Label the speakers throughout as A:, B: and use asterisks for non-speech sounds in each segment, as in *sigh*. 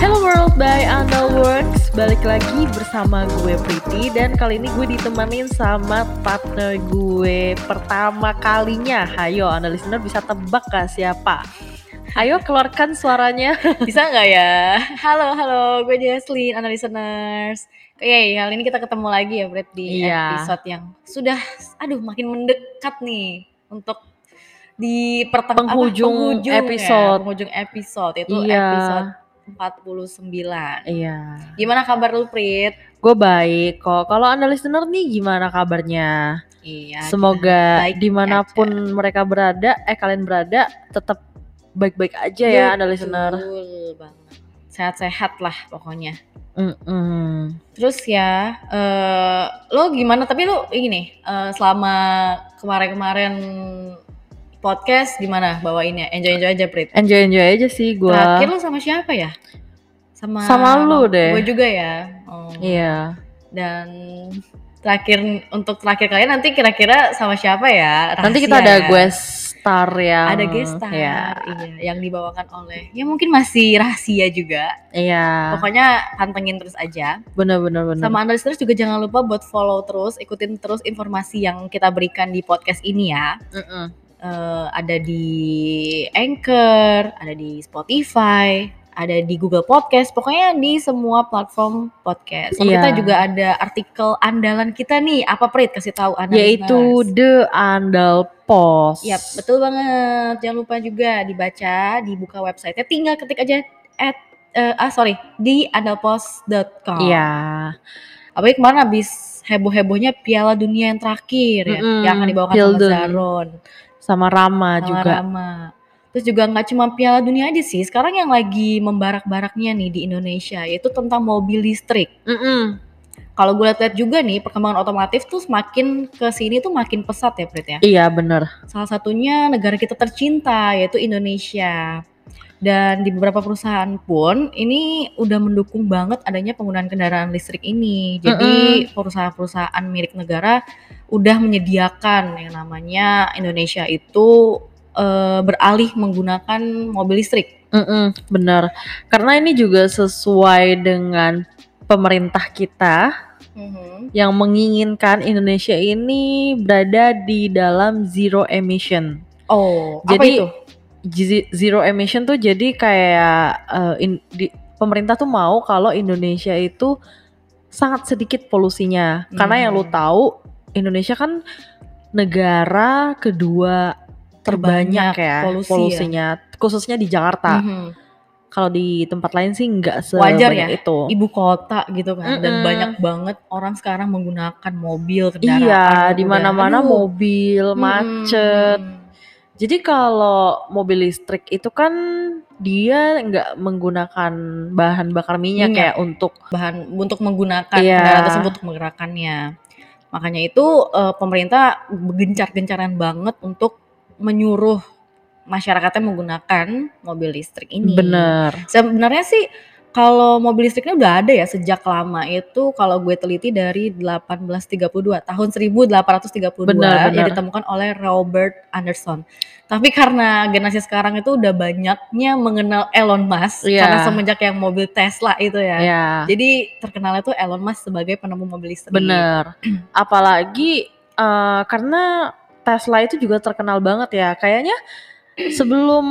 A: Hello World by Works Balik lagi bersama gue Priti Dan kali ini gue ditemenin sama partner gue pertama kalinya Hayo, anda listener bisa tebak gak siapa? Ayo keluarkan suaranya
B: *laughs* Bisa nggak ya? Halo, halo, gue Jesslyn, Ana Listeners. Yeay, kali ini kita ketemu lagi ya, Brad, di
A: Iya.
B: episode yang sudah, aduh, makin mendekat nih untuk di perteng- apa,
A: Penghujung
B: ya,
A: episode.
B: penghujung episode, itu
A: Iya.
B: episode 49.
A: Iya
B: Gimana kabar lu, Prit?
A: Gue baik kok Kalau anda listener nih gimana kabarnya?
B: Iya.
A: Semoga
B: baik-baik
A: dimanapun mereka berada Eh kalian berada tetap baik-baik aja ya anda listener
B: banget. Sehat-sehat lah pokoknya.
A: Mm-mm.
B: Terus ya, eh lo gimana? Tapi lo gini, eh, selama kemarin-kemarin podcast gimana bawainnya? Enjoy-enjoy aja, Prit.
A: Enjoy-enjoy aja sih gue
B: Terakhir lo sama siapa ya? Sama
A: Sama lu deh.
B: Gue juga ya. Oh.
A: Iya
B: Dan terakhir untuk terakhir kalian nanti kira-kira sama siapa ya?
A: Nanti kita
B: Rahasia
A: ada
B: ya.
A: guest star yang
B: ada guest star,
A: Iya
B: iya, yang dibawakan oleh ya mungkin masih rahasia juga.
A: Iya
B: Pokoknya pantengin terus aja.
A: Bener-bener bener.
B: Sama Anda listeners juga jangan lupa buat follow terus, ikutin terus informasi yang kita berikan di podcast ini ya.
A: Mm-mm.
B: Eh, ada di Anchor, ada di Spotify, ada di Google Podcast, pokoknya di semua platform podcast. Sama
A: Iya.
B: kita juga ada artikel andalan kita nih, apa Prit kasih tahu Anda
A: Yaitu
B: listeners.
A: The Andal Post
B: Yap, Iya, betul banget. Jangan lupa juga dibaca, dibuka website-nya. Tinggal ketik aja at eh, ah sorry di andalpost.com.
A: Iya
B: Apalagi kemarin habis heboh-hebohnya Piala Dunia yang terakhir ya,
A: Mm-mm,
B: yang akan dibawakan
A: Pilden.
B: sama Zaron,
A: Sama Rama
B: sama
A: juga
B: Rama. Terus juga nggak cuma Piala Dunia aja sih, sekarang yang lagi membarak-baraknya nih di Indonesia yaitu tentang mobil listrik.
A: Mm-mm.
B: Kalau gue lihat-lihat juga nih perkembangan otomotif tuh semakin ke sini tuh makin pesat ya Prit ya.
A: Iya bener
B: Salah satunya negara kita tercinta yaitu Indonesia. Dan di beberapa perusahaan pun ini udah mendukung banget adanya penggunaan kendaraan listrik ini. Jadi perusahaan-perusahaan milik negara udah menyediakan yang namanya Indonesia itu eh, beralih menggunakan mobil listrik.
A: Mm-mm, Bener Karena ini juga sesuai dengan pemerintah kita yang menginginkan Indonesia ini berada di dalam zero emission.
B: Oh, apa
A: Jadi-
B: itu?
A: Zi- Zero emission tuh jadi kayak eh, in- di- pemerintah tuh mau kalau Indonesia itu sangat sedikit polusinya. Karena yang lu
B: Hmm.
A: tahu Indonesia kan negara kedua terbanyak,
B: Terbanyak
A: ya
B: polusi ya.
A: polusinya, khususnya di Jakarta.
B: Mhm.
A: Kalau di tempat lain sih nggak sebanyak
B: Wajar ya?
A: itu.
B: Ibu kota gitu kan dan
A: Mm-mm.
B: banyak banget orang sekarang menggunakan mobil kendaraan.
A: Iya,
B: udah-
A: di mana-mana
B: gitu ya. Aduh. Hmm. Mm-hmm.
A: mobil macet.
B: Mm-mm.
A: Jadi kalau mobil listrik itu kan dia nggak menggunakan bahan bakar minyak, ya
B: Minyak.
A: untuk
B: bahan untuk menggunakan
A: Iya.
B: kendaraan tersebut untuk menggerakkannya. Makanya itu eh, pemerintah gencar-gencaran banget untuk menyuruh masyarakatnya menggunakan mobil listrik ini.
A: bener.
B: Sebenarnya sih kalau mobil listriknya udah ada ya sejak lama itu kalau gue teliti dari 1832 tahun 1832
A: Benar,
B: yang
A: benar.
B: ditemukan oleh Robert Anderson. Tapi karena generasi sekarang itu udah banyaknya mengenal Elon Musk
A: Iya.
B: karena semenjak yang mobil Tesla itu ya.
A: Ya,
B: Jadi terkenalnya tuh Elon Musk sebagai penemu mobil listrik.
A: bener. *clears throat* Apalagi eh, karena Tesla itu juga terkenal banget ya. Kayaknya *clears throat* sebelum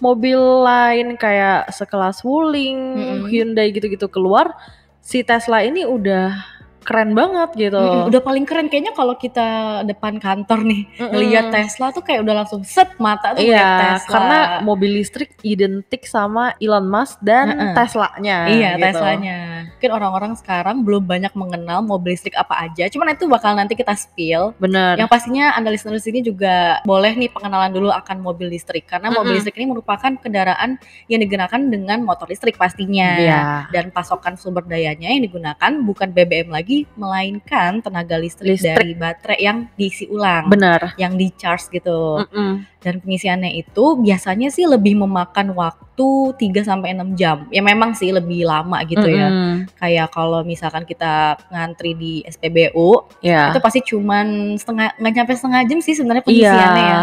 A: mobil lain kayak sekelas Wuling,
B: Mm-mm.
A: Hyundai gitu-gitu keluar, si Tesla ini udah keren banget gitu.
B: Mm-mm, udah paling keren kayaknya kalau kita depan kantor nih
A: Mm-mm.
B: ngelihat Tesla tuh kayak udah langsung set mata tuh ngeliat
A: Iya,
B: Tesla.
A: karena mobil listrik identik sama Elon Musk dan
B: Heeh.
A: Teslanya.
B: Iya
A: gitu.
B: Teslanya. Mungkin orang-orang sekarang belum banyak mengenal mobil listrik apa aja. Cuman itu bakal nanti kita spill.
A: Bener.
B: Yang pastinya anda listener sini juga boleh nih pengenalan dulu akan mobil listrik karena mobil
A: Mm-mm.
B: listrik ini merupakan kendaraan yang digunakan dengan motor listrik pastinya.
A: Iya.
B: dan pasokan sumber dayanya yang digunakan bukan BBM lagi lagi melainkan tenaga listrik,
A: Listrik.
B: dari baterai yang diisi ulang,
A: benar
B: yang di charge gitu.
A: Mm-mm.
B: Dan pengisiannya itu biasanya sih lebih memakan waktu 3 sampai 6 jam. Ya memang sih lebih lama gitu ya.
A: Mm-mm.
B: Kayak kalau misalkan kita ngantri di SPBU,
A: ya
B: itu pasti cuman setengah nggak nyampe setengah jam sih sebenarnya
A: iya
B: pengisiannya ya.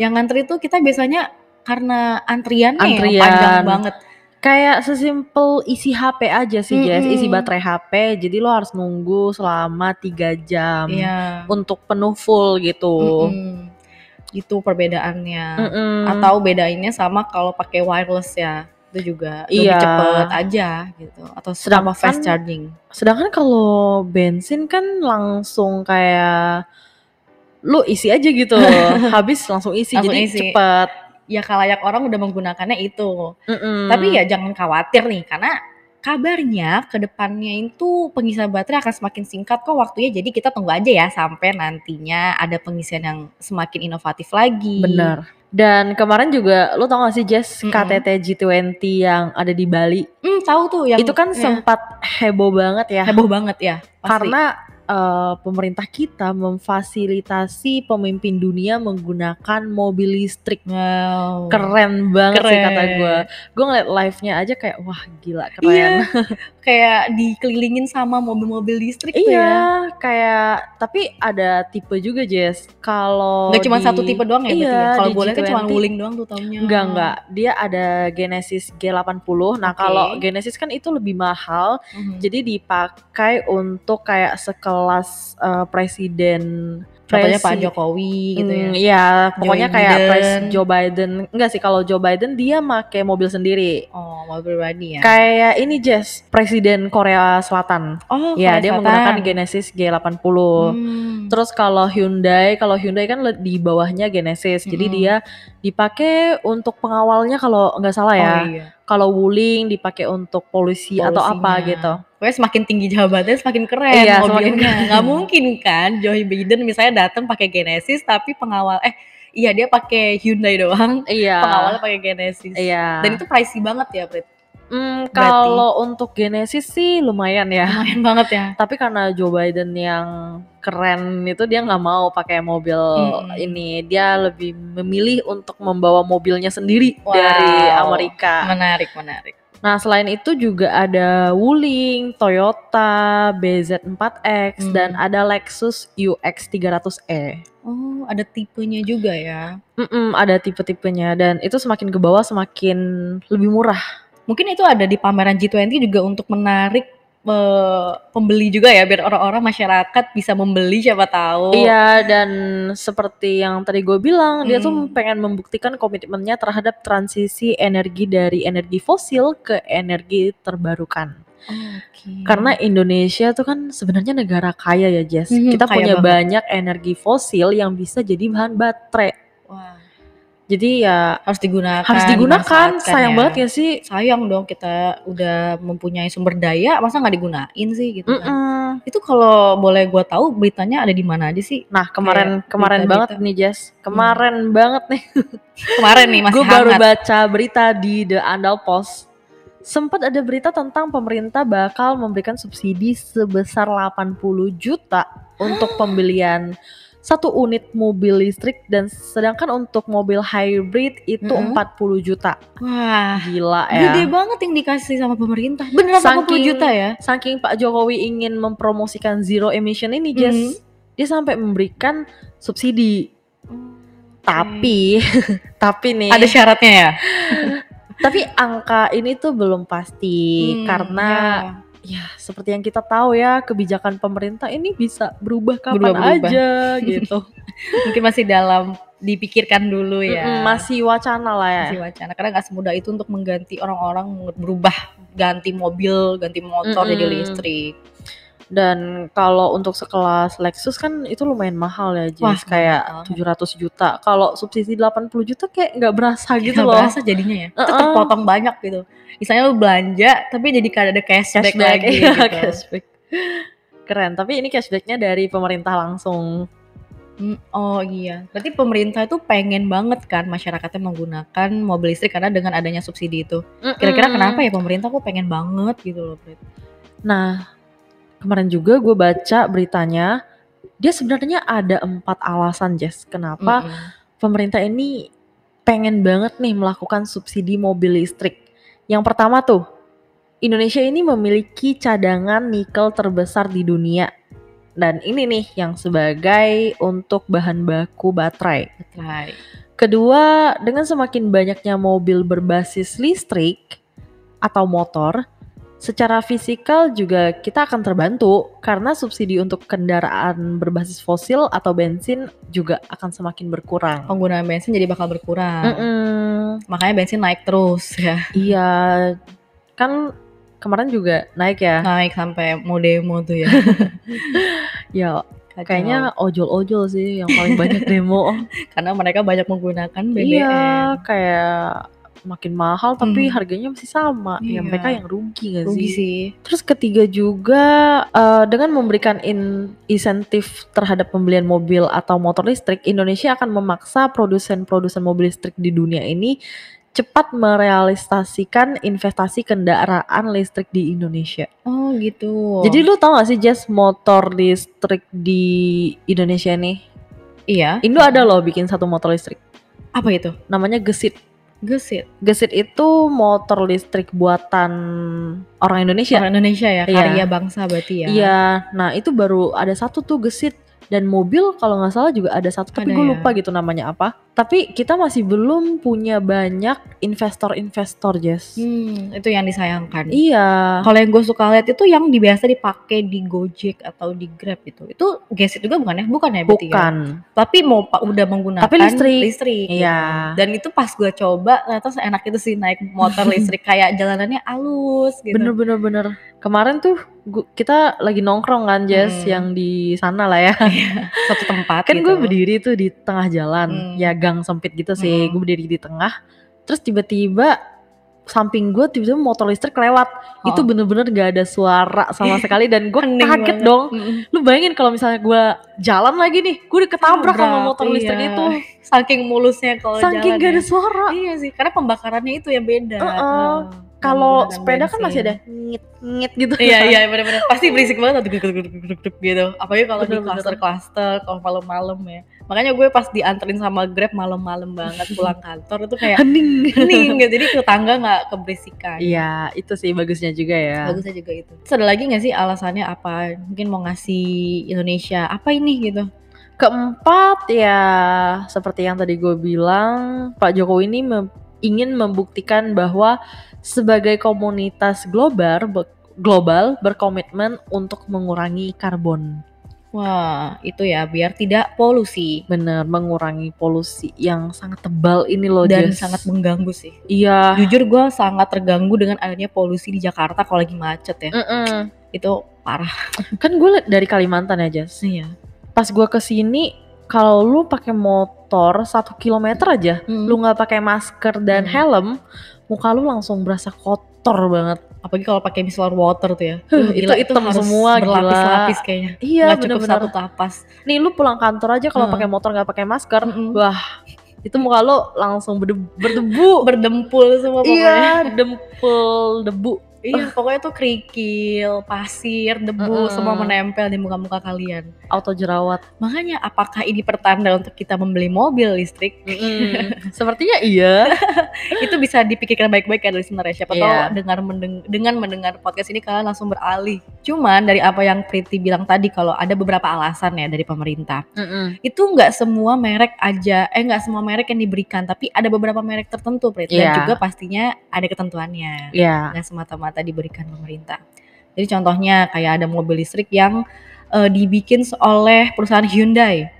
B: Yang ngantri itu kita biasanya karena antriannya yang
A: Antrian.
B: panjang banget.
A: kayak sesimpel isi HP aja sih Jess
B: Mm-mm.
A: isi baterai HP jadi lo harus nunggu selama tiga jam
B: Iya.
A: untuk penuh full gitu
B: Mm-mm. Itu perbedaannya.
A: Mm-mm.
B: Atau bedainnya sama kalau pakai wireless ya. Itu juga
A: Iya.
B: lebih cepet aja gitu. Atau sama
A: Sedangkan-
B: fast charging.
A: sedangkan kalau bensin kan langsung kayak lo isi aja
B: *laughs*
A: gitu habis langsung isi
B: Langsung
A: jadi
B: isi.
A: cepet
B: Ya kalayak orang udah menggunakannya itu.
A: Mm-mm.
B: Tapi ya jangan khawatir nih karena kabarnya ke depannya itu pengisian baterai akan semakin singkat kok waktunya. Jadi kita tunggu aja ya sampai nantinya ada pengisian yang semakin inovatif lagi.
A: benar dan kemarin juga lo tau gak sih Jess
B: Iya. Mm-mm.
A: KTT G20 yang ada di Bali
B: Hmm, tahu tuh yang
A: itu kan
B: ya,
A: sempat heboh banget ya
B: heboh banget ya. pasti.
A: karena eh, pemerintah kita memfasilitasi pemimpin dunia menggunakan mobil listrik
B: wow.
A: keren banget sih
B: Oh. Keren.
A: kata gue gue ngeliat live-nya aja kayak wah gila keren
B: Iya. *laughs* Kayak dikelilingin sama mobil-mobil listrik tuh
A: Iya,
B: ya.
A: kayak tapi ada tipe juga Jess. Kalau
B: Gak
A: Oh,
B: cuma
A: di-
B: satu tipe doang ya berarti
A: iya,
B: ya? Kalau
A: di
B: boleh kan cuma
A: G20.
B: wuling doang tuh taunya.
A: Enggak, enggak. Dia ada Genesis G80. Nah,
B: Oke.
A: kalau Genesis kan itu lebih mahal.
B: Mhm.
A: Jadi dipakai untuk kayak sekelas eh, presiden
B: Contohnya Pak
A: presi-
B: Jokowi gitu ya.
A: Hmm, iya, pokoknya kayak
B: Biden.
A: pres Joe Biden. Enggak sih kalau Joe Biden dia make mobil sendiri.
B: Oh, mobil pribadi ya.
A: Kayak ini Jess, presiden Korea Selatan.
B: oh,
A: ya, dia
B: Korea Selatan.
A: menggunakan Genesis G80.
B: Hmm.
A: Terus kalau Hyundai, kalau Hyundai kan le- di bawahnya Genesis. Jadi
B: Mm-mm.
A: dia dipakai untuk pengawalnya kalau nggak salah ya.
B: Oh, iya.
A: Kalau Wuling dipakai untuk polisi atau apa
B: Polusinya.
A: gitu.
B: Pokoknya semakin tinggi jabatannya semakin keren
A: Iya,
B: mobilnya.
A: semakin keren.
B: Nggak mungkin kan Joe Biden misalnya datang pakai Genesis tapi pengawal eh iya dia pakai Hyundai doang,
A: Iya.
B: pengawalnya pakai Genesis.
A: Iya.
B: Dan itu pricey banget ya, Prit.
A: Hmm, kalau untuk Genesis sih lumayan ya.
B: Lumayan banget ya.
A: Tapi karena Joe Biden yang keren itu dia nggak mau pakai mobil
B: Mm.
A: ini. Dia lebih memilih untuk membawa mobilnya sendiri
B: Wow.
A: dari Amerika.
B: Menarik, menarik.
A: Nah, selain itu juga ada Wuling, Toyota, BZ4X,
B: Hmm.
A: dan ada Lexus UX300e.
B: Oh, ada tipenya juga ya.
A: E. Mm-mm, ada tipe-tipenya dan itu semakin ke bawah semakin lebih murah.
B: Mungkin itu ada di pameran G20 juga untuk menarik eh, pembeli juga ya biar orang-orang masyarakat bisa membeli siapa tahu.
A: Iya, dan seperti yang tadi gue bilang, dia tuh
B: Hmm.
A: pengen membuktikan komitmennya terhadap transisi energi dari energi fosil ke energi terbarukan.
B: Hmm. Oke.
A: Karena Indonesia tuh kan sebenarnya negara kaya ya, Jess.
B: Mhm,
A: Kita
B: kaya
A: punya
B: banget.
A: banyak energi fosil yang bisa jadi bahan baterai.
B: Wah,
A: Jadi ya
B: harus digunakan.
A: harus digunakan.
B: dimanfaatkan
A: Sayang
B: ya.
A: banget ya sih.
B: Sayang dong kita udah mempunyai sumber daya, masa nggak digunain sih gitu kan.
A: Mm-mm.
B: Itu kalau boleh gua tahu beritanya ada di mana aja sih?
A: Nah kemarin kemarin
B: berita-berita.
A: banget nih Jess,
B: Hmm.
A: kemarin banget nih.
B: Kemarin nih masih
A: Gue baru
B: hangat.
A: baca berita di The Andal Post. Sempat ada berita tentang pemerintah bakal memberikan subsidi sebesar 80 juta
B: *gasps*
A: untuk pembelian satu unit mobil listrik dan sedangkan untuk mobil hybrid itu
B: Mm-mm.
A: 40 juta.
B: Wah,
A: Gila ya.
B: gede banget yang dikasih sama pemerintah. Beneran 80
A: Saking-
B: juta ya?
A: saking Pak Jokowi ingin mempromosikan zero emission ini, Jess,
B: Mhm.
A: dia sampai memberikan subsidi. Tapi, *laughs* tapi nih,
B: ada syaratnya ya?
A: tapi angka ini tuh belum pasti Iya,
B: Hmm,
A: karena
B: iya.
A: ya seperti yang kita tahu ya kebijakan pemerintah ini bisa berubah kapan
B: Berubah-berubah.
A: aja
B: *laughs*
A: gitu.
B: ya, mungkin masih dalam dipikirkan dulu ya.
A: Mm-mm, masih wacana lah ya.
B: Masih wacana karena nggak semudah itu untuk mengganti orang-orang berubah ganti mobil, ganti motor jadi
A: Mm-mm.
B: listrik.
A: Dan kalau untuk sekelas Lexus kan itu lumayan mahal ya,
B: Wah,
A: Jess, kayak
B: mahal.
A: 700 juta. Kalau subsidi 80 juta kayak nggak berasa gitu
B: Nggak
A: loh.
B: berasa jadinya ya. Itu
A: Uh-uh.
B: terpotong banyak gitu. Misalnya lu belanja tapi jadi kada ada cashback,
A: *laughs*
B: lagi
A: iya,
B: gitu.
A: cashback. Keren, tapi ini cashbacknya dari pemerintah langsung.
B: Hmm, oh iya. Berarti pemerintah itu pengen banget kan masyarakatnya menggunakan mobil listrik karena dengan adanya ya subsidi itu. Kira-kira kenapa ya pemerintah kok pengen banget gitu loh. Prit?
A: Nah, kemarin juga gue baca beritanya dia sebenarnya ada empat alasan Jess kenapa
B: Mm-mm.
A: pemerintah ini pengen banget nih melakukan subsidi mobil listrik. Yang pertama tuh, Indonesia ini memiliki cadangan nikel terbesar di dunia. Dan ini nih yang sebagai untuk bahan baku baterai.
B: Right.
A: Kedua, dengan semakin banyaknya mobil berbasis listrik atau motor, secara fisikal juga kita akan terbantu karena subsidi untuk kendaraan berbasis fosil atau bensin juga akan semakin berkurang.
B: Penggunaan bensin jadi bakal berkurang.
A: Mm-mm.
B: Makanya bensin naik terus ya.
A: Iya, kan kemarin juga naik ya.
B: Naik sampai mau demo tuh ya.
A: *laughs* Ya, kayaknya ojol-ojol sih yang paling banyak demo.
B: karena mereka banyak menggunakan BBM.
A: Iya, kayak makin mahal tapi
B: Hmm.
A: harganya masih sama. Ya
B: Iya.
A: mereka yang rugi gak
B: Rugi
A: sih?
B: sih.
A: Terus ketiga juga eh, dengan memberikan in- insentif terhadap pembelian mobil atau motor listrik, Indonesia akan memaksa produsen-produsen mobil listrik di dunia ini cepat merealisasikan investasi kendaraan listrik di Indonesia.
B: Oh gitu.
A: Jadi lu tau gak sih Jess motor listrik di Indonesia nih?
B: iya.
A: Indo ada loh bikin satu motor listrik.
B: Apa itu?
A: Namanya Gesit.
B: Gesit.
A: Gesit itu motor listrik buatan orang Indonesia.
B: Orang Indonesia ya,
A: Iya.
B: karya bangsa berarti ya.
A: Iya, nah itu baru ada satu tuh gesit dan mobil kalau nggak salah juga ada satu, tapi
B: Ada
A: gue
B: ya.
A: lupa gitu namanya apa. Tapi kita masih belum punya banyak investor-investor, Jess.
B: Hmm, itu yang disayangkan.
A: Iya,
B: Kalau yang gue suka lihat itu yang di- biasa dipakai di Gojek atau di Grab itu. Itu Gesit juga bukan ya? Bukan ya berarti ya?
A: bukan.
B: Tapi mau pak udah menggunakan
A: Tapi listrik.
B: gitu.
A: Iya.
B: Dan itu pas gue coba ternyata seenak itu sih naik
A: *laughs*
B: motor listrik kayak jalanannya halus gitu.
A: Bener-bener bener. Kemarin tuh gu- kita lagi nongkrong kan, Jess,
B: Hmm.
A: yang di sana lah ya.
B: Iya. Satu tempat
A: kan
B: gitu.
A: gue berdiri tuh di tengah jalan
B: Hmm.
A: ya gang sempit gitu sih
B: Hmm.
A: gue berdiri di tengah terus tiba-tiba samping gue tiba-tiba motor listrik lewat
B: Oh.
A: itu bener-bener gak ada suara
B: *laughs*
A: sama sekali dan gue
B: Hening
A: kaget
B: banget.
A: dong
B: Mm-mm.
A: lu bayangin kalau misalnya gue jalan lagi nih gue udah ketabrak sama
B: Ketabrak,
A: motor listrik
B: iya.
A: itu
B: Saking mulusnya kalau
A: saking
B: jalan
A: gak
B: ya.
A: ada suara
B: Iya sih, karena pembakarannya itu yang beda.
A: Heeh.
B: Nah,
A: kalau
B: menggunakan
A: sepeda kan
B: bensin.
A: masih ada ngit ngit gitu
B: Iya iya benar-benar pasti berisik banget tuh, duk, duk, duk, duk, duk, gitu. Apalagi kalau di
A: Bener-bener.
B: klaster-klaster kalau malam-malam ya. Makanya gue pas dianterin sama Grab malam-malam banget pulang kantor itu
A: *laughs*
B: kayak
A: hening
B: *laughs* hening gitu. Jadi tetangga nggak keberisikan.
A: iya itu sih bagusnya juga ya
B: Bagusnya juga itu. Terus ada lagi nggak sih alasannya apa? Mungkin mau ngasih Indonesia apa ini gitu?
A: Keempat ya seperti yang tadi gue bilang Pak Jokowi ini mem- ingin membuktikan bahwa sebagai komunitas global be- global berkomitmen untuk mengurangi karbon.
B: Wah itu ya biar tidak polusi
A: Bener mengurangi polusi yang sangat tebal ini loh
B: dan
A: Jess.
B: sangat mengganggu sih.
A: iya.
B: Jujur gue sangat terganggu dengan adanya polusi di Jakarta kalau lagi macet ya.
A: Mm-mm.
B: Itu parah.
A: Kan gue li- dari Kalimantan ya Jess.
B: Iya.
A: Pas gue kesini kalau lu pakai motor satu kilometer aja
B: Lu
A: lu nggak pakai masker dan
B: Hmm.
A: helm, muka lu langsung berasa kotor banget.
B: apalagi kalau pakai micellar water tuh ya.
A: Huh,
B: Tuh,
A: itu hitam semua, gila.
B: berlapis-lapis kayaknya.
A: Iya
B: Nggak cukup satu
A: bener-bener.
B: tapas.
A: Nih lu pulang kantor aja kalau
B: Hmm.
A: pakai motor nggak pakai masker,
B: Mm-mm.
A: itu muka lu langsung berde-
B: *laughs*
A: berdebu.
B: Berdempul semua pokoknya.
A: iya, dempul debu.
B: Iya, pokoknya tuh kerikil, pasir, debu
A: Mm-mm.
B: semua menempel di muka-muka kalian.
A: Auto jerawat.
B: Makanya apakah ini pertanda untuk kita membeli mobil listrik? Hmm.
A: *laughs* Sepertinya iya.
B: itu bisa dipikirkan baik-baik ya dari sebenarnya siapa
A: Iya.
B: tahu dengar mendeng- dengan mendengar podcast ini kalian langsung beralih. Cuman dari apa yang Priti bilang tadi kalau ada beberapa alasan ya dari pemerintah. itu nggak semua merek aja eh nggak semua merek yang diberikan tapi ada beberapa merek tertentu Prit
A: Iya.
B: dan juga pastinya ada ketentuannya
A: Iya.
B: nggak semata-mata diberikan pemerintah jadi contohnya kayak ada mobil listrik yang eh, dibikin oleh perusahaan Hyundai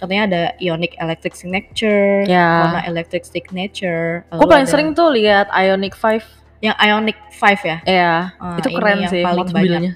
B: contohnya ada Ionic Electric Signature
A: Ya.
B: Kona Electric Signature eh,
A: Gue
B: lalu
A: paling
B: ada
A: sering tuh lihat Ionic 5
B: yang Ionic 5 ya
A: Iya,
B: Ah,
A: itu
B: ini
A: keren
B: yang
A: sih
B: paling banyak
A: mobilnya.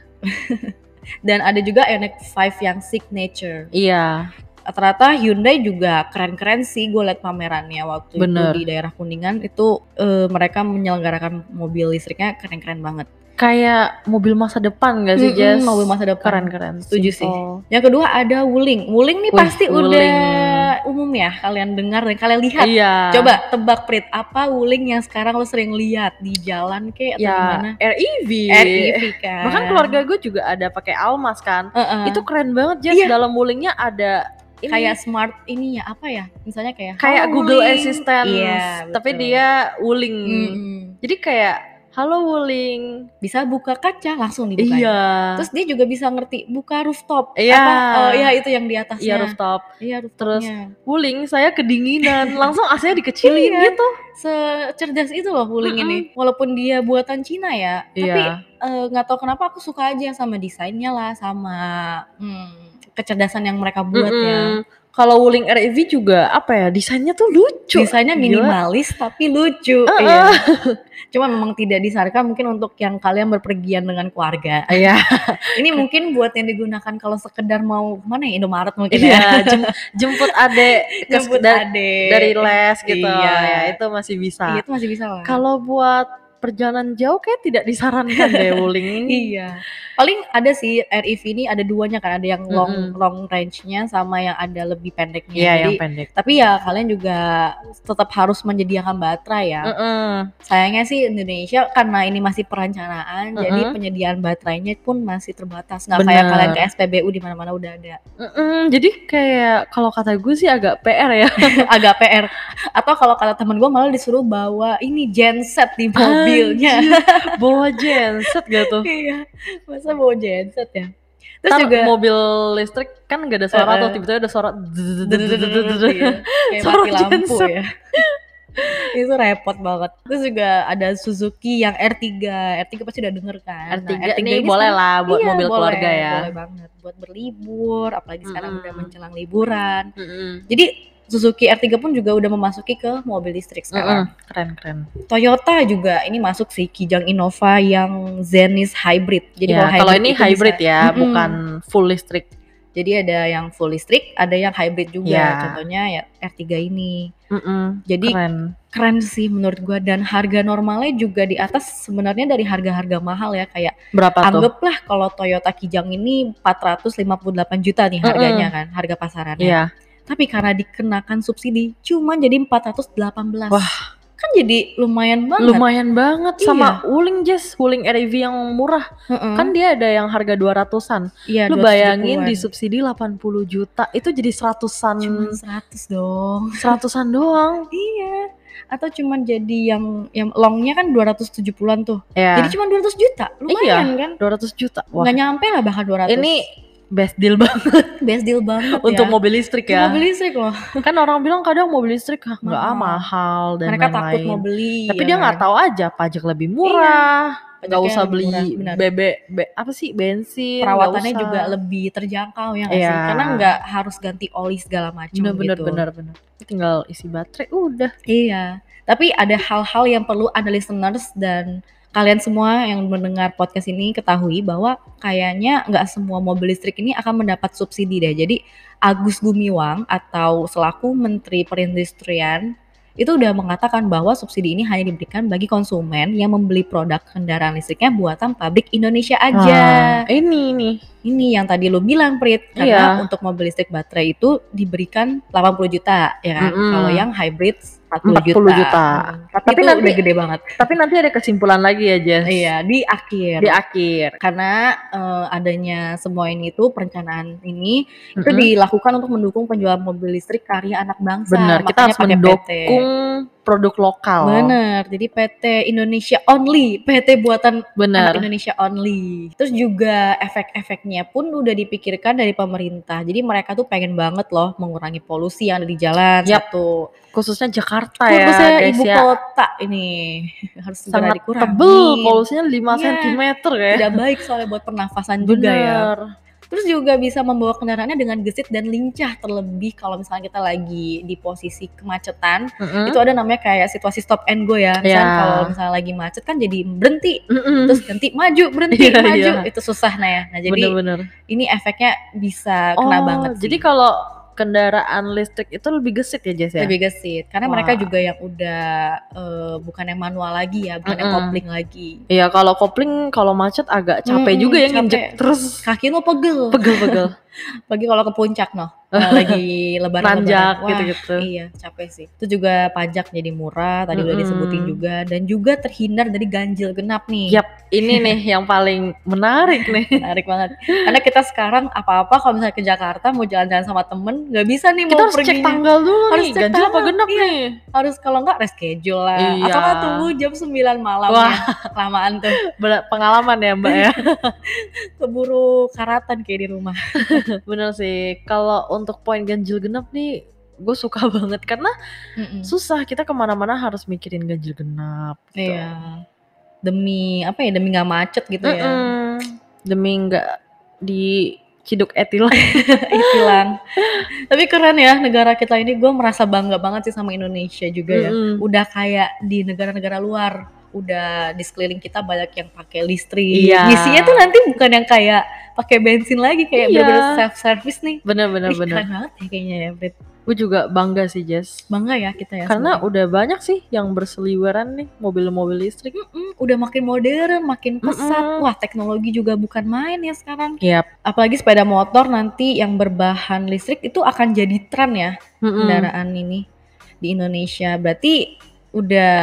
B: dan ada juga Ionic 5 yang Signature
A: Iya,
B: ternyata Hyundai juga keren-keren sih gue liat pamerannya waktu
A: Bener.
B: itu di daerah Kuningan itu eh, mereka menyelenggarakan mobil listriknya keren-keren banget.
A: kayak mobil masa depan gak Iya sih,
B: Mm-mm,
A: Jess?
B: Hmm, mobil masa depan.
A: keren keren
B: Setuju sih.
A: Simple.
B: Yang kedua ada Wuling. Wuling nih
A: Wih,
B: pasti
A: Wuling.
B: udah secara umum ya kalian dengar dan kalian lihat.
A: Iya.
B: Coba tebak Prit apa wuling yang sekarang lo sering lihat di jalan ke atau di mana?
A: ya REV.
B: RIV kan.
A: Bahkan keluarga gue juga ada pakai almas kan.
B: Heeh.
A: Itu keren banget Jess,
B: Iya.
A: dalam wulingnya ada ini
B: kayak smart ini ya apa ya? Misalnya kayak
A: kayak
B: "Halo,
A: Google
B: wuling."
A: Assistant.
B: Iya,
A: tapi
B: betul.
A: dia wuling.
B: Mm-mm.
A: Jadi kayak halo wuling.
B: bisa buka kaca langsung dibuka.
A: Iya.
B: Terus dia juga bisa ngerti buka rooftop.
A: Iya.
B: Apa? eh, iya itu yang di atasnya.
A: Iya rooftop.
B: Iya
A: Terus
B: rooftopnya.
A: Wuling, saya *laughs* kedinginan. Langsung AC-nya dikecilin
B: Iya.
A: gitu.
B: secerdas itu loh wuling
A: Mm-mm.
B: ini. Walaupun dia buatan Cina ya, tapi
A: Iya.
B: eh, nggak tahu kenapa aku suka aja sama desainnya lah, sama hmm, kecerdasan yang mereka buat ya.
A: Mm-mm. Kalau Wuling REV juga apa ya? Desainnya tuh lucu.
B: Desainnya
A: Gila.
B: minimalis tapi lucu.
A: Eh,
B: Iya. Cuma memang tidak disarankan mungkin untuk yang kalian berpergian dengan keluarga.
A: Iya.
B: Ini mungkin buat yang digunakan kalau sekedar mau mana ya Indomaret mungkin
A: *laughs* Iya,
B: ya.
A: jem- jemput
B: *laughs*
A: adek ke
B: Jemput
A: da-
B: adek.
A: dari les gitu.
B: Iya.
A: Ya, itu masih bisa.
B: Iya, itu masih bisa lah.
A: Kalau buat perjalanan jauh kayak tidak disarankan *laughs* deh Wuling.
B: Iya. Paling ada sih RIV ini ada duanya kan, ada yang long
A: Mm-mm.
B: long range-nya sama yang ada lebih pendeknya.
A: Iya, yang
B: Jadi-
A: pendek.
B: tapi ya kalian juga tetap harus menyediakan baterai ya.
A: Mm-mm.
B: Sayangnya sih Indonesia karena ini masih perencanaan, jadi
A: Mm-mm.
B: penyediaan baterainya pun masih terbatas. Nggak kayak
A: Benar.
B: kalian ke SPBU di mana-mana udah ada. *laughs*
A: Mm-mm. Jadi kayak kalau kata gue sih agak PR *laughs* ya.
B: Agak PR. Atau kalau kata teman gue malah disuruh bawa ini genset di
A: Ah, iya.
B: mobilnya.
A: Anjir, Bawa genset gak tuh?
B: *laughs* Iya. Masa bawa genset ya? Terus
A: Ntar
B: *laughs* juga
A: mobil listrik kan gak ada suara
B: Eh,
A: tuh
B: eh.
A: tiba-tiba ada suara *laughs*
B: Iya, kayak
A: Suara
B: mati lampu
A: genset.
B: ya *laughs* itu repot banget terus juga ada Suzuki yang R3 R3 pasti udah denger
A: R3
B: kan
A: Nah, ini boleh
B: sekarang-
A: lah buat
B: Iya,
A: mobil
B: boleh,
A: keluarga ya
B: boleh banget buat berlibur apalagi sekarang
A: Mm-mm.
B: udah menjelang liburan
A: Mm-mm.
B: jadi Suzuki R3 pun juga udah memasuki ke mobil listrik
A: Mm-mm.
B: sekarang.
A: keren keren
B: Toyota juga ini masuk sih Kijang Innova yang Zenith Hybrid. Jadi
A: ya, kalau ini
B: itu bisa-
A: hybrid ya
B: Mm-mm.
A: bukan full listrik
B: Jadi ada yang full listrik, ada yang hybrid juga.
A: Iya.
B: Contohnya ya R3 ini.
A: Mm-mm.
B: Jadi
A: keren
B: keren sih menurut gua dan harga normalnya juga di atas sebenarnya dari harga-harga mahal ya kayak
A: berapa tuh
B: anggaplah kalau Toyota Kijang ini 458 juta nih harganya kan harga pasarannya
A: Iya,
B: tapi karena dikenakan subsidi cuma jadi 418
A: Wah.
B: kan jadi lumayan banget
A: lumayan banget
B: Iya.
A: sama Wuling Jess, Wuling REV yang murah.
B: Heeh.
A: Kan dia ada yang harga 200-an.
B: Iya,
A: Lu
B: 270-an.
A: bayangin disubsidi 80 juta, itu jadi
B: Cuman
A: 100-an
B: 100 dong
A: 100-an doang.
B: iya atau cuman jadi yang yang longnya kan 270-an tuh
A: Ya.
B: jadi cuma 200 juta lumayan kan
A: 200 juta. Wah,
B: nggak nyampe lah bahkan 200
A: ini best deal banget.
B: best deal banget
A: *laughs* untuk
B: ya.
A: mobil listrik ya.
B: Mau beli listrik loh.
A: Kan orang bilang kadang mobil listrik "Ah, nggak ah,
B: Mahal.
A: mahal dan
B: Mereka takut
A: lain-lain.
B: mau beli.
A: Tapi
B: ya
A: dia
B: kan.
A: nggak tahu aja pajak lebih murah,
B: Pajaknya
A: nggak usah
B: lebih
A: beli
B: murah, benar.
A: bebek be- apa sih bensin, Iya, nggak
B: Perawatannya
A: usah.
B: juga lebih terjangkau ya nggak sih?
A: Iya.
B: Karena nggak harus ganti oli segala macam
A: bener bener
B: gitu.
A: bener bener. Tinggal isi baterai udah.
B: Iya. Tapi ada hal-hal yang perlu ada listeners dan kalian semua yang mendengar podcast ini ketahui bahwa kayaknya nggak semua mobil listrik ini akan mendapat subsidi deh. Jadi Agus Gumiwang atau selaku Menteri Perindustrian itu udah mengatakan bahwa subsidi ini hanya diberikan bagi konsumen yang membeli produk kendaraan listriknya buatan pabrik Indonesia aja.
A: Nah, ini nih.
B: Ah, Ini yang tadi lo bilang Prit
A: Iya.
B: karena untuk mobil listrik baterai itu diberikan 80 juta ya kan.
A: Mm-mm.
B: Kalau yang hybrid 40,
A: 40
B: juta.
A: juta.
B: Hmm. Tapi,
A: Nah, Tapi
B: itu
A: nanti-
B: udah gede banget.
A: Tapi nanti ada kesimpulan lagi ya Jess.
B: Iya, di akhir.
A: Di akhir.
B: Karena eh, adanya semua ini tuh perencanaan ini itu
A: Mm-mm.
B: dilakukan untuk mendukung penjualan mobil listrik karya anak bangsa.
A: Benar, kita
B: Makanya
A: harus
B: pakai PT.
A: mendukung produk lokal.
B: Bener, jadi PT Indonesia Only, PT buatan
A: Bener.
B: anak Indonesia only. Terus juga efek-efeknya pun udah dipikirkan dari pemerintah. Jadi mereka tuh pengen banget loh mengurangi polusi yang ada di jalan.
A: Yap.
B: Satu.
A: Khususnya Jakarta ya,
B: Khususnya
A: guys
B: ibu
A: ya.
B: kota ini harus segera
A: Sangat
B: dikurangi.
A: tebel, polusinya 5
B: Iya.
A: cm ya.
B: Tidak baik soalnya buat pernafasan juga ya.
A: Bener.
B: Terus juga bisa membawa kendaraannya dengan gesit dan lincah terlebih kalau misalnya kita lagi di posisi kemacetan.
A: Mm-mm.
B: Itu ada namanya kayak situasi stop and go ya. Misalnya
A: Iya.
B: kalau misalnya lagi macet kan jadi berhenti
A: Mm-mm.
B: terus ganti maju berhenti
A: Hmm. *laughs* Iya,
B: maju
A: iya.
B: itu susah nah ya nah jadi
A: Bener-bener.
B: ini efeknya bisa
A: Oh,
B: kena banget sih.
A: Jadi kalau kendaraan listrik itu lebih gesit ya Jess ya?
B: lebih gesit karena
A: Wah.
B: mereka juga yang udah eh, bukan yang manual lagi ya bukan yang
A: Mm-mm.
B: kopling lagi
A: Iya kalau kopling kalau macet agak capek
B: Mm-mm,
A: juga ya
B: capek. Kan-
A: nginjek terus
B: kaki lo pegel *laughs*
A: pegel-pegel.
B: bagi kalau ke puncak noh
A: Eh, *laughs*
B: eh, lagi lebaran
A: nanjak
B: Wah,
A: gitu-gitu.
B: Iya, capek sih. Itu juga pajak jadi murah, tadi udah
A: Mm-mm.
B: disebutin juga dan juga terhindar dari ganjil genap nih.
A: Yap, ini
B: *laughs*
A: nih yang paling menarik nih.
B: Menarik banget. Karena kita sekarang apa-apa kalau misalnya ke Jakarta mau jalan-jalan sama temen nggak bisa nih
A: Kita
B: mau
A: harus cek
B: perginya.
A: tanggal dulu
B: Harus
A: nih,
B: cek
A: ganjil apa
B: tanggal,
A: genap
B: iya.
A: nih.
B: Harus kalau nggak reschedule lah.
A: Iya.
B: Atau nggak tunggu jam 9 malam
A: Wah.
B: ya. Kelamaan tuh
A: Ber- Pengalaman ya Mbak
B: *laughs*
A: ya.
B: keburu karatan kayak di rumah.
A: Bener sih. Kalau untuk poin ganjil genap nih, gue suka *laughs* banget karena
B: Mm-mm.
A: susah kita kemana-mana harus mikirin ganjil genap. Gitu.
B: Iya. Demi apa ya? Demi nggak macet gitu ya.
A: Mm-mm. Demi nggak diciduk etil.
B: Hilang. *laughs* Tapi keren ya negara kita ini. Gue merasa bangga banget sih sama Indonesia juga ya.
A: Mm-mm.
B: Udah kayak di negara-negara luar. Udah di sekeliling kita banyak yang pakai listrik.
A: Iya.
B: Isinya tuh nanti bukan yang kayak pakai bensin lagi kayak
A: Iya.
B: bener-bener self service nih.
A: Bener bener
B: Ih,
A: bener.
B: Keren banget ya kayaknya ya. Brit.
A: Gue juga bangga sih Jess.
B: Bangga ya kita ya.
A: Karena
B: sebenarnya.
A: udah banyak sih yang berseliweran nih mobil-mobil listrik.
B: Mm-mm, udah makin modern, makin pesat.
A: Mm-mm.
B: Wah, teknologi juga bukan main ya sekarang.
A: Yap.
B: apalagi sepeda motor nanti yang berbahan listrik itu akan jadi tren ya
A: Hmm.
B: kendaraan ini di Indonesia. Berarti udah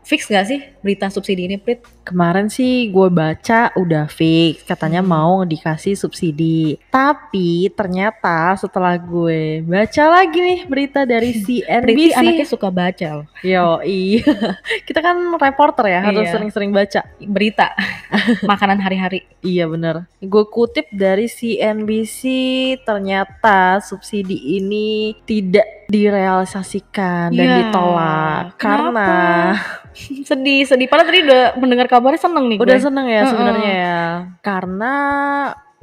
B: fix gak sih berita subsidi ini, Prit?
A: Kemarin sih gue baca udah fix katanya
B: Hmm.
A: mau dikasih subsidi. Tapi ternyata setelah gue baca lagi nih berita
B: *laughs*
A: dari
B: Priti anaknya
A: CNBC.
B: suka baca loh.
A: Yo, iya. *laughs* Kita kan reporter ya, harus
B: Iya.
A: sering-sering baca.
B: berita *laughs* makanan hari-hari.
A: Iya bener. Gue kutip dari CNBC, ternyata subsidi ini tidak direalisasikan dan
B: Ya,
A: ditolak.
B: kenapa?
A: Karena
B: sedih, sedih. Padahal tadi udah mendengar kabarnya seneng nih.
A: Udah
B: gue.
A: seneng ya
B: Heeh.
A: sebenarnya ya. Karena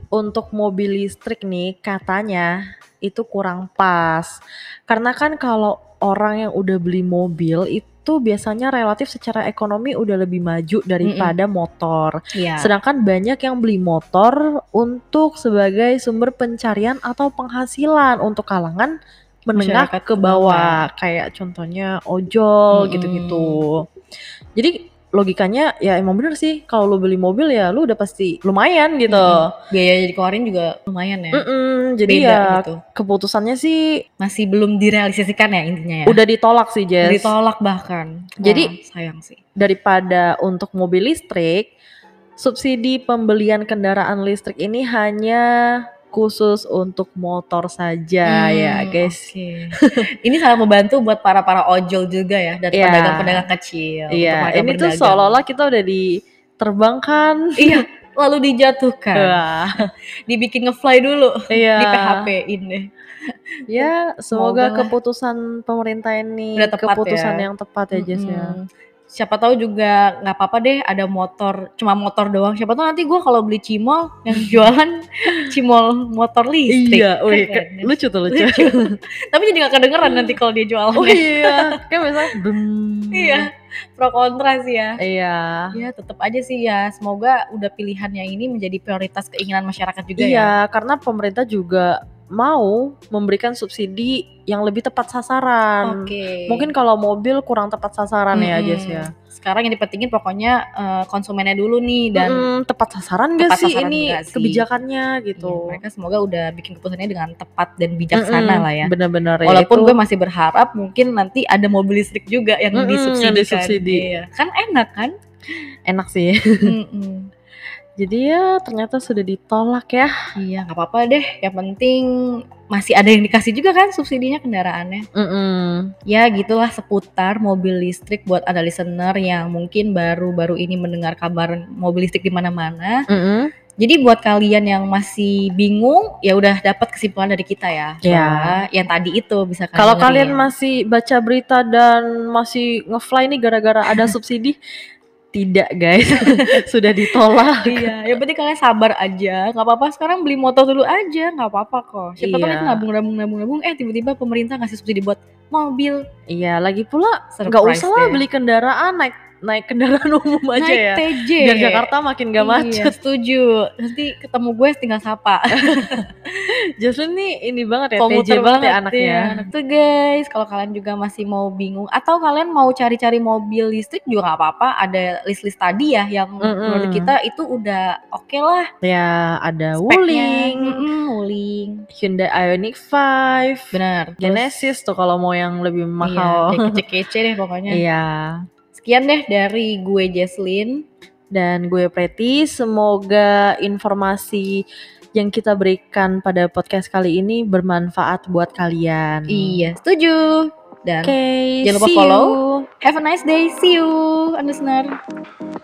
A: untuk mobil listrik nih katanya itu kurang pas. Karena kan kalau orang yang udah beli mobil itu biasanya relatif secara ekonomi udah lebih maju daripada motor.
B: Iya.
A: Sedangkan banyak yang beli motor untuk sebagai sumber pencarian atau penghasilan untuk kalangan menengah
B: Masyarakat
A: ke bawah, kayak contohnya ojol
B: Mm-mm.
A: gitu-gitu. Jadi logikanya ya emang bener sih kalau lu beli mobil ya lu udah pasti lumayan gitu.
B: Biaya yang dikeluarin juga lumayan ya.
A: Mm-mm, jadi
B: Beda
A: ya
B: gitu.
A: keputusannya sih
B: Masih belum direalisasikan ya intinya ya.
A: udah ditolak sih Jess.
B: Ditolak bahkan. Wah,
A: Jadi-
B: sayang sih.
A: daripada untuk mobil listrik, subsidi pembelian kendaraan listrik ini hanya khusus untuk motor saja ya
B: Hmm,
A: guys.
B: oke. ini sangat membantu buat para para ojol juga ya dan
A: Iya.
B: pedagang-pedagang kecil. Ya, untuk
A: Iya,
B: mereka
A: ini tuh
B: berdagang.
A: seolah-olah kita udah diterbangkan.
B: iya lalu dijatuhkan, *laughs*
A: Wah,
B: dibikin ngefly dulu,
A: iya.
B: Iya. di PHP ini.
A: Ya,
B: Semoga
A: semoga
B: lah.
A: keputusan pemerintah ini
B: Udah tepat
A: keputusan
B: ya.
A: yang tepat ya Jess ya.
B: Mm-mm. Siapa tahu juga nggak apa-apa deh ada motor, cuma motor doang. Siapa tahu nanti gua kalau beli cimol
A: *laughs*
B: yang jualan cimol motor listrik.
A: Iya, wih,
B: Keren
A: ke-
B: ya.
A: lucu tuh lucu.
B: Lucu. *laughs* Tapi jadi nggak kedengeran nanti kalau dia jualan.
A: *laughs* oh iya, kayak misalnya bem.
B: iya, pro kontra sih ya.
A: Iya.
B: Ya tetap aja sih ya. Semoga udah pilihannya ini menjadi prioritas keinginan masyarakat juga ya.
A: Iya, karena pemerintah juga mau memberikan subsidi yang lebih tepat sasaran.
B: ya. Oke.
A: Mungkin kalau mobil kurang tepat sasaran ya,
B: Mm-mm.
A: Jess ya.
B: Sekarang yang dipentingin pokoknya eh, konsumennya dulu nih dan ya,
A: Mm, tepat sasaran gak
B: Tepat
A: sih
B: sasaran
A: ini
B: nggak sih?
A: kebijakannya gitu?
B: Iya, mereka semoga udah bikin keputusannya dengan tepat dan bijaksana
A: Mm-mm,
B: lah ya.
A: Bener-bener.
B: Walaupun gue masih berharap mungkin nanti ada mobil listrik juga yang
A: Mm-mm,
B: disubsidikan.
A: yang disubsidi.
B: Iya. Kan enak
A: *laughs*
B: kan?
A: enak sih. *laughs*
B: Mm-mm.
A: Jadi ya ternyata sudah ditolak ya.
B: Iya nggak apa-apa deh. Yang penting masih ada yang dikasih juga kan subsidinya kendaraannya.
A: Mm-mm.
B: Ya gitulah seputar mobil listrik buat ada listener yang mungkin baru-baru ini mendengar kabar mobil listrik di mana-mana.
A: Mm-mm.
B: Jadi buat kalian yang masih bingung, ya udah dapat kesimpulan dari kita ya.
A: Ya.
B: Bahwa Yang tadi itu bisa kalian
A: Kalau
B: dengerin.
A: kalian masih baca berita dan masih ngefly nih gara-gara ada subsidi, *laughs* tidak guys, *laughs* sudah ditolak.
B: Iya, yang penting kalian sabar aja. Gak apa-apa sekarang beli motor dulu aja, gak apa-apa kok. Siapa tahu
A: Iya.
B: nanti nabung-nabung nabung-nabung eh tiba-tiba pemerintah ngasih subsidi buat mobil.
A: Iya, lagi pula
B: Surprise
A: nggak usah lah
B: deh.
A: beli kendaraan naik naik kendaraan *laughs* umum aja
B: Naik
A: ya
B: TJ.
A: biar Jakarta makin gak
B: Iya,
A: macet. *laughs*
B: setuju. Nanti ketemu gue tinggal sapa.
A: Jocelyn nih ini banget ya TJ
B: Komuter
A: banget ya
B: iya.
A: anaknya.
B: Tuh guys, kalau kalian juga masih mau bingung atau kalian mau cari-cari mobil listrik juga nggak apa-apa. Ada list-list tadi ya yang
A: Mm-mm.
B: menurut kita itu udah oke lah.
A: Ya ada
B: speknya.
A: Wuling,
B: Mm-mm, Wuling.
A: Hyundai Ioniq 5,
B: Benar. Terus-
A: Genesis tuh kalau mau yang lebih mahal.
B: Iya, deh, kece-kece deh pokoknya.
A: Iya.
B: Sekian deh dari gue Jesslyn.
A: Dan gue Preti, semoga informasi yang kita berikan pada podcast kali ini bermanfaat buat kalian.
B: Iya, setuju. Dan
A: Oke,
B: Jangan lupa
A: see
B: follow.
A: you.
B: have a nice day. See you, listener.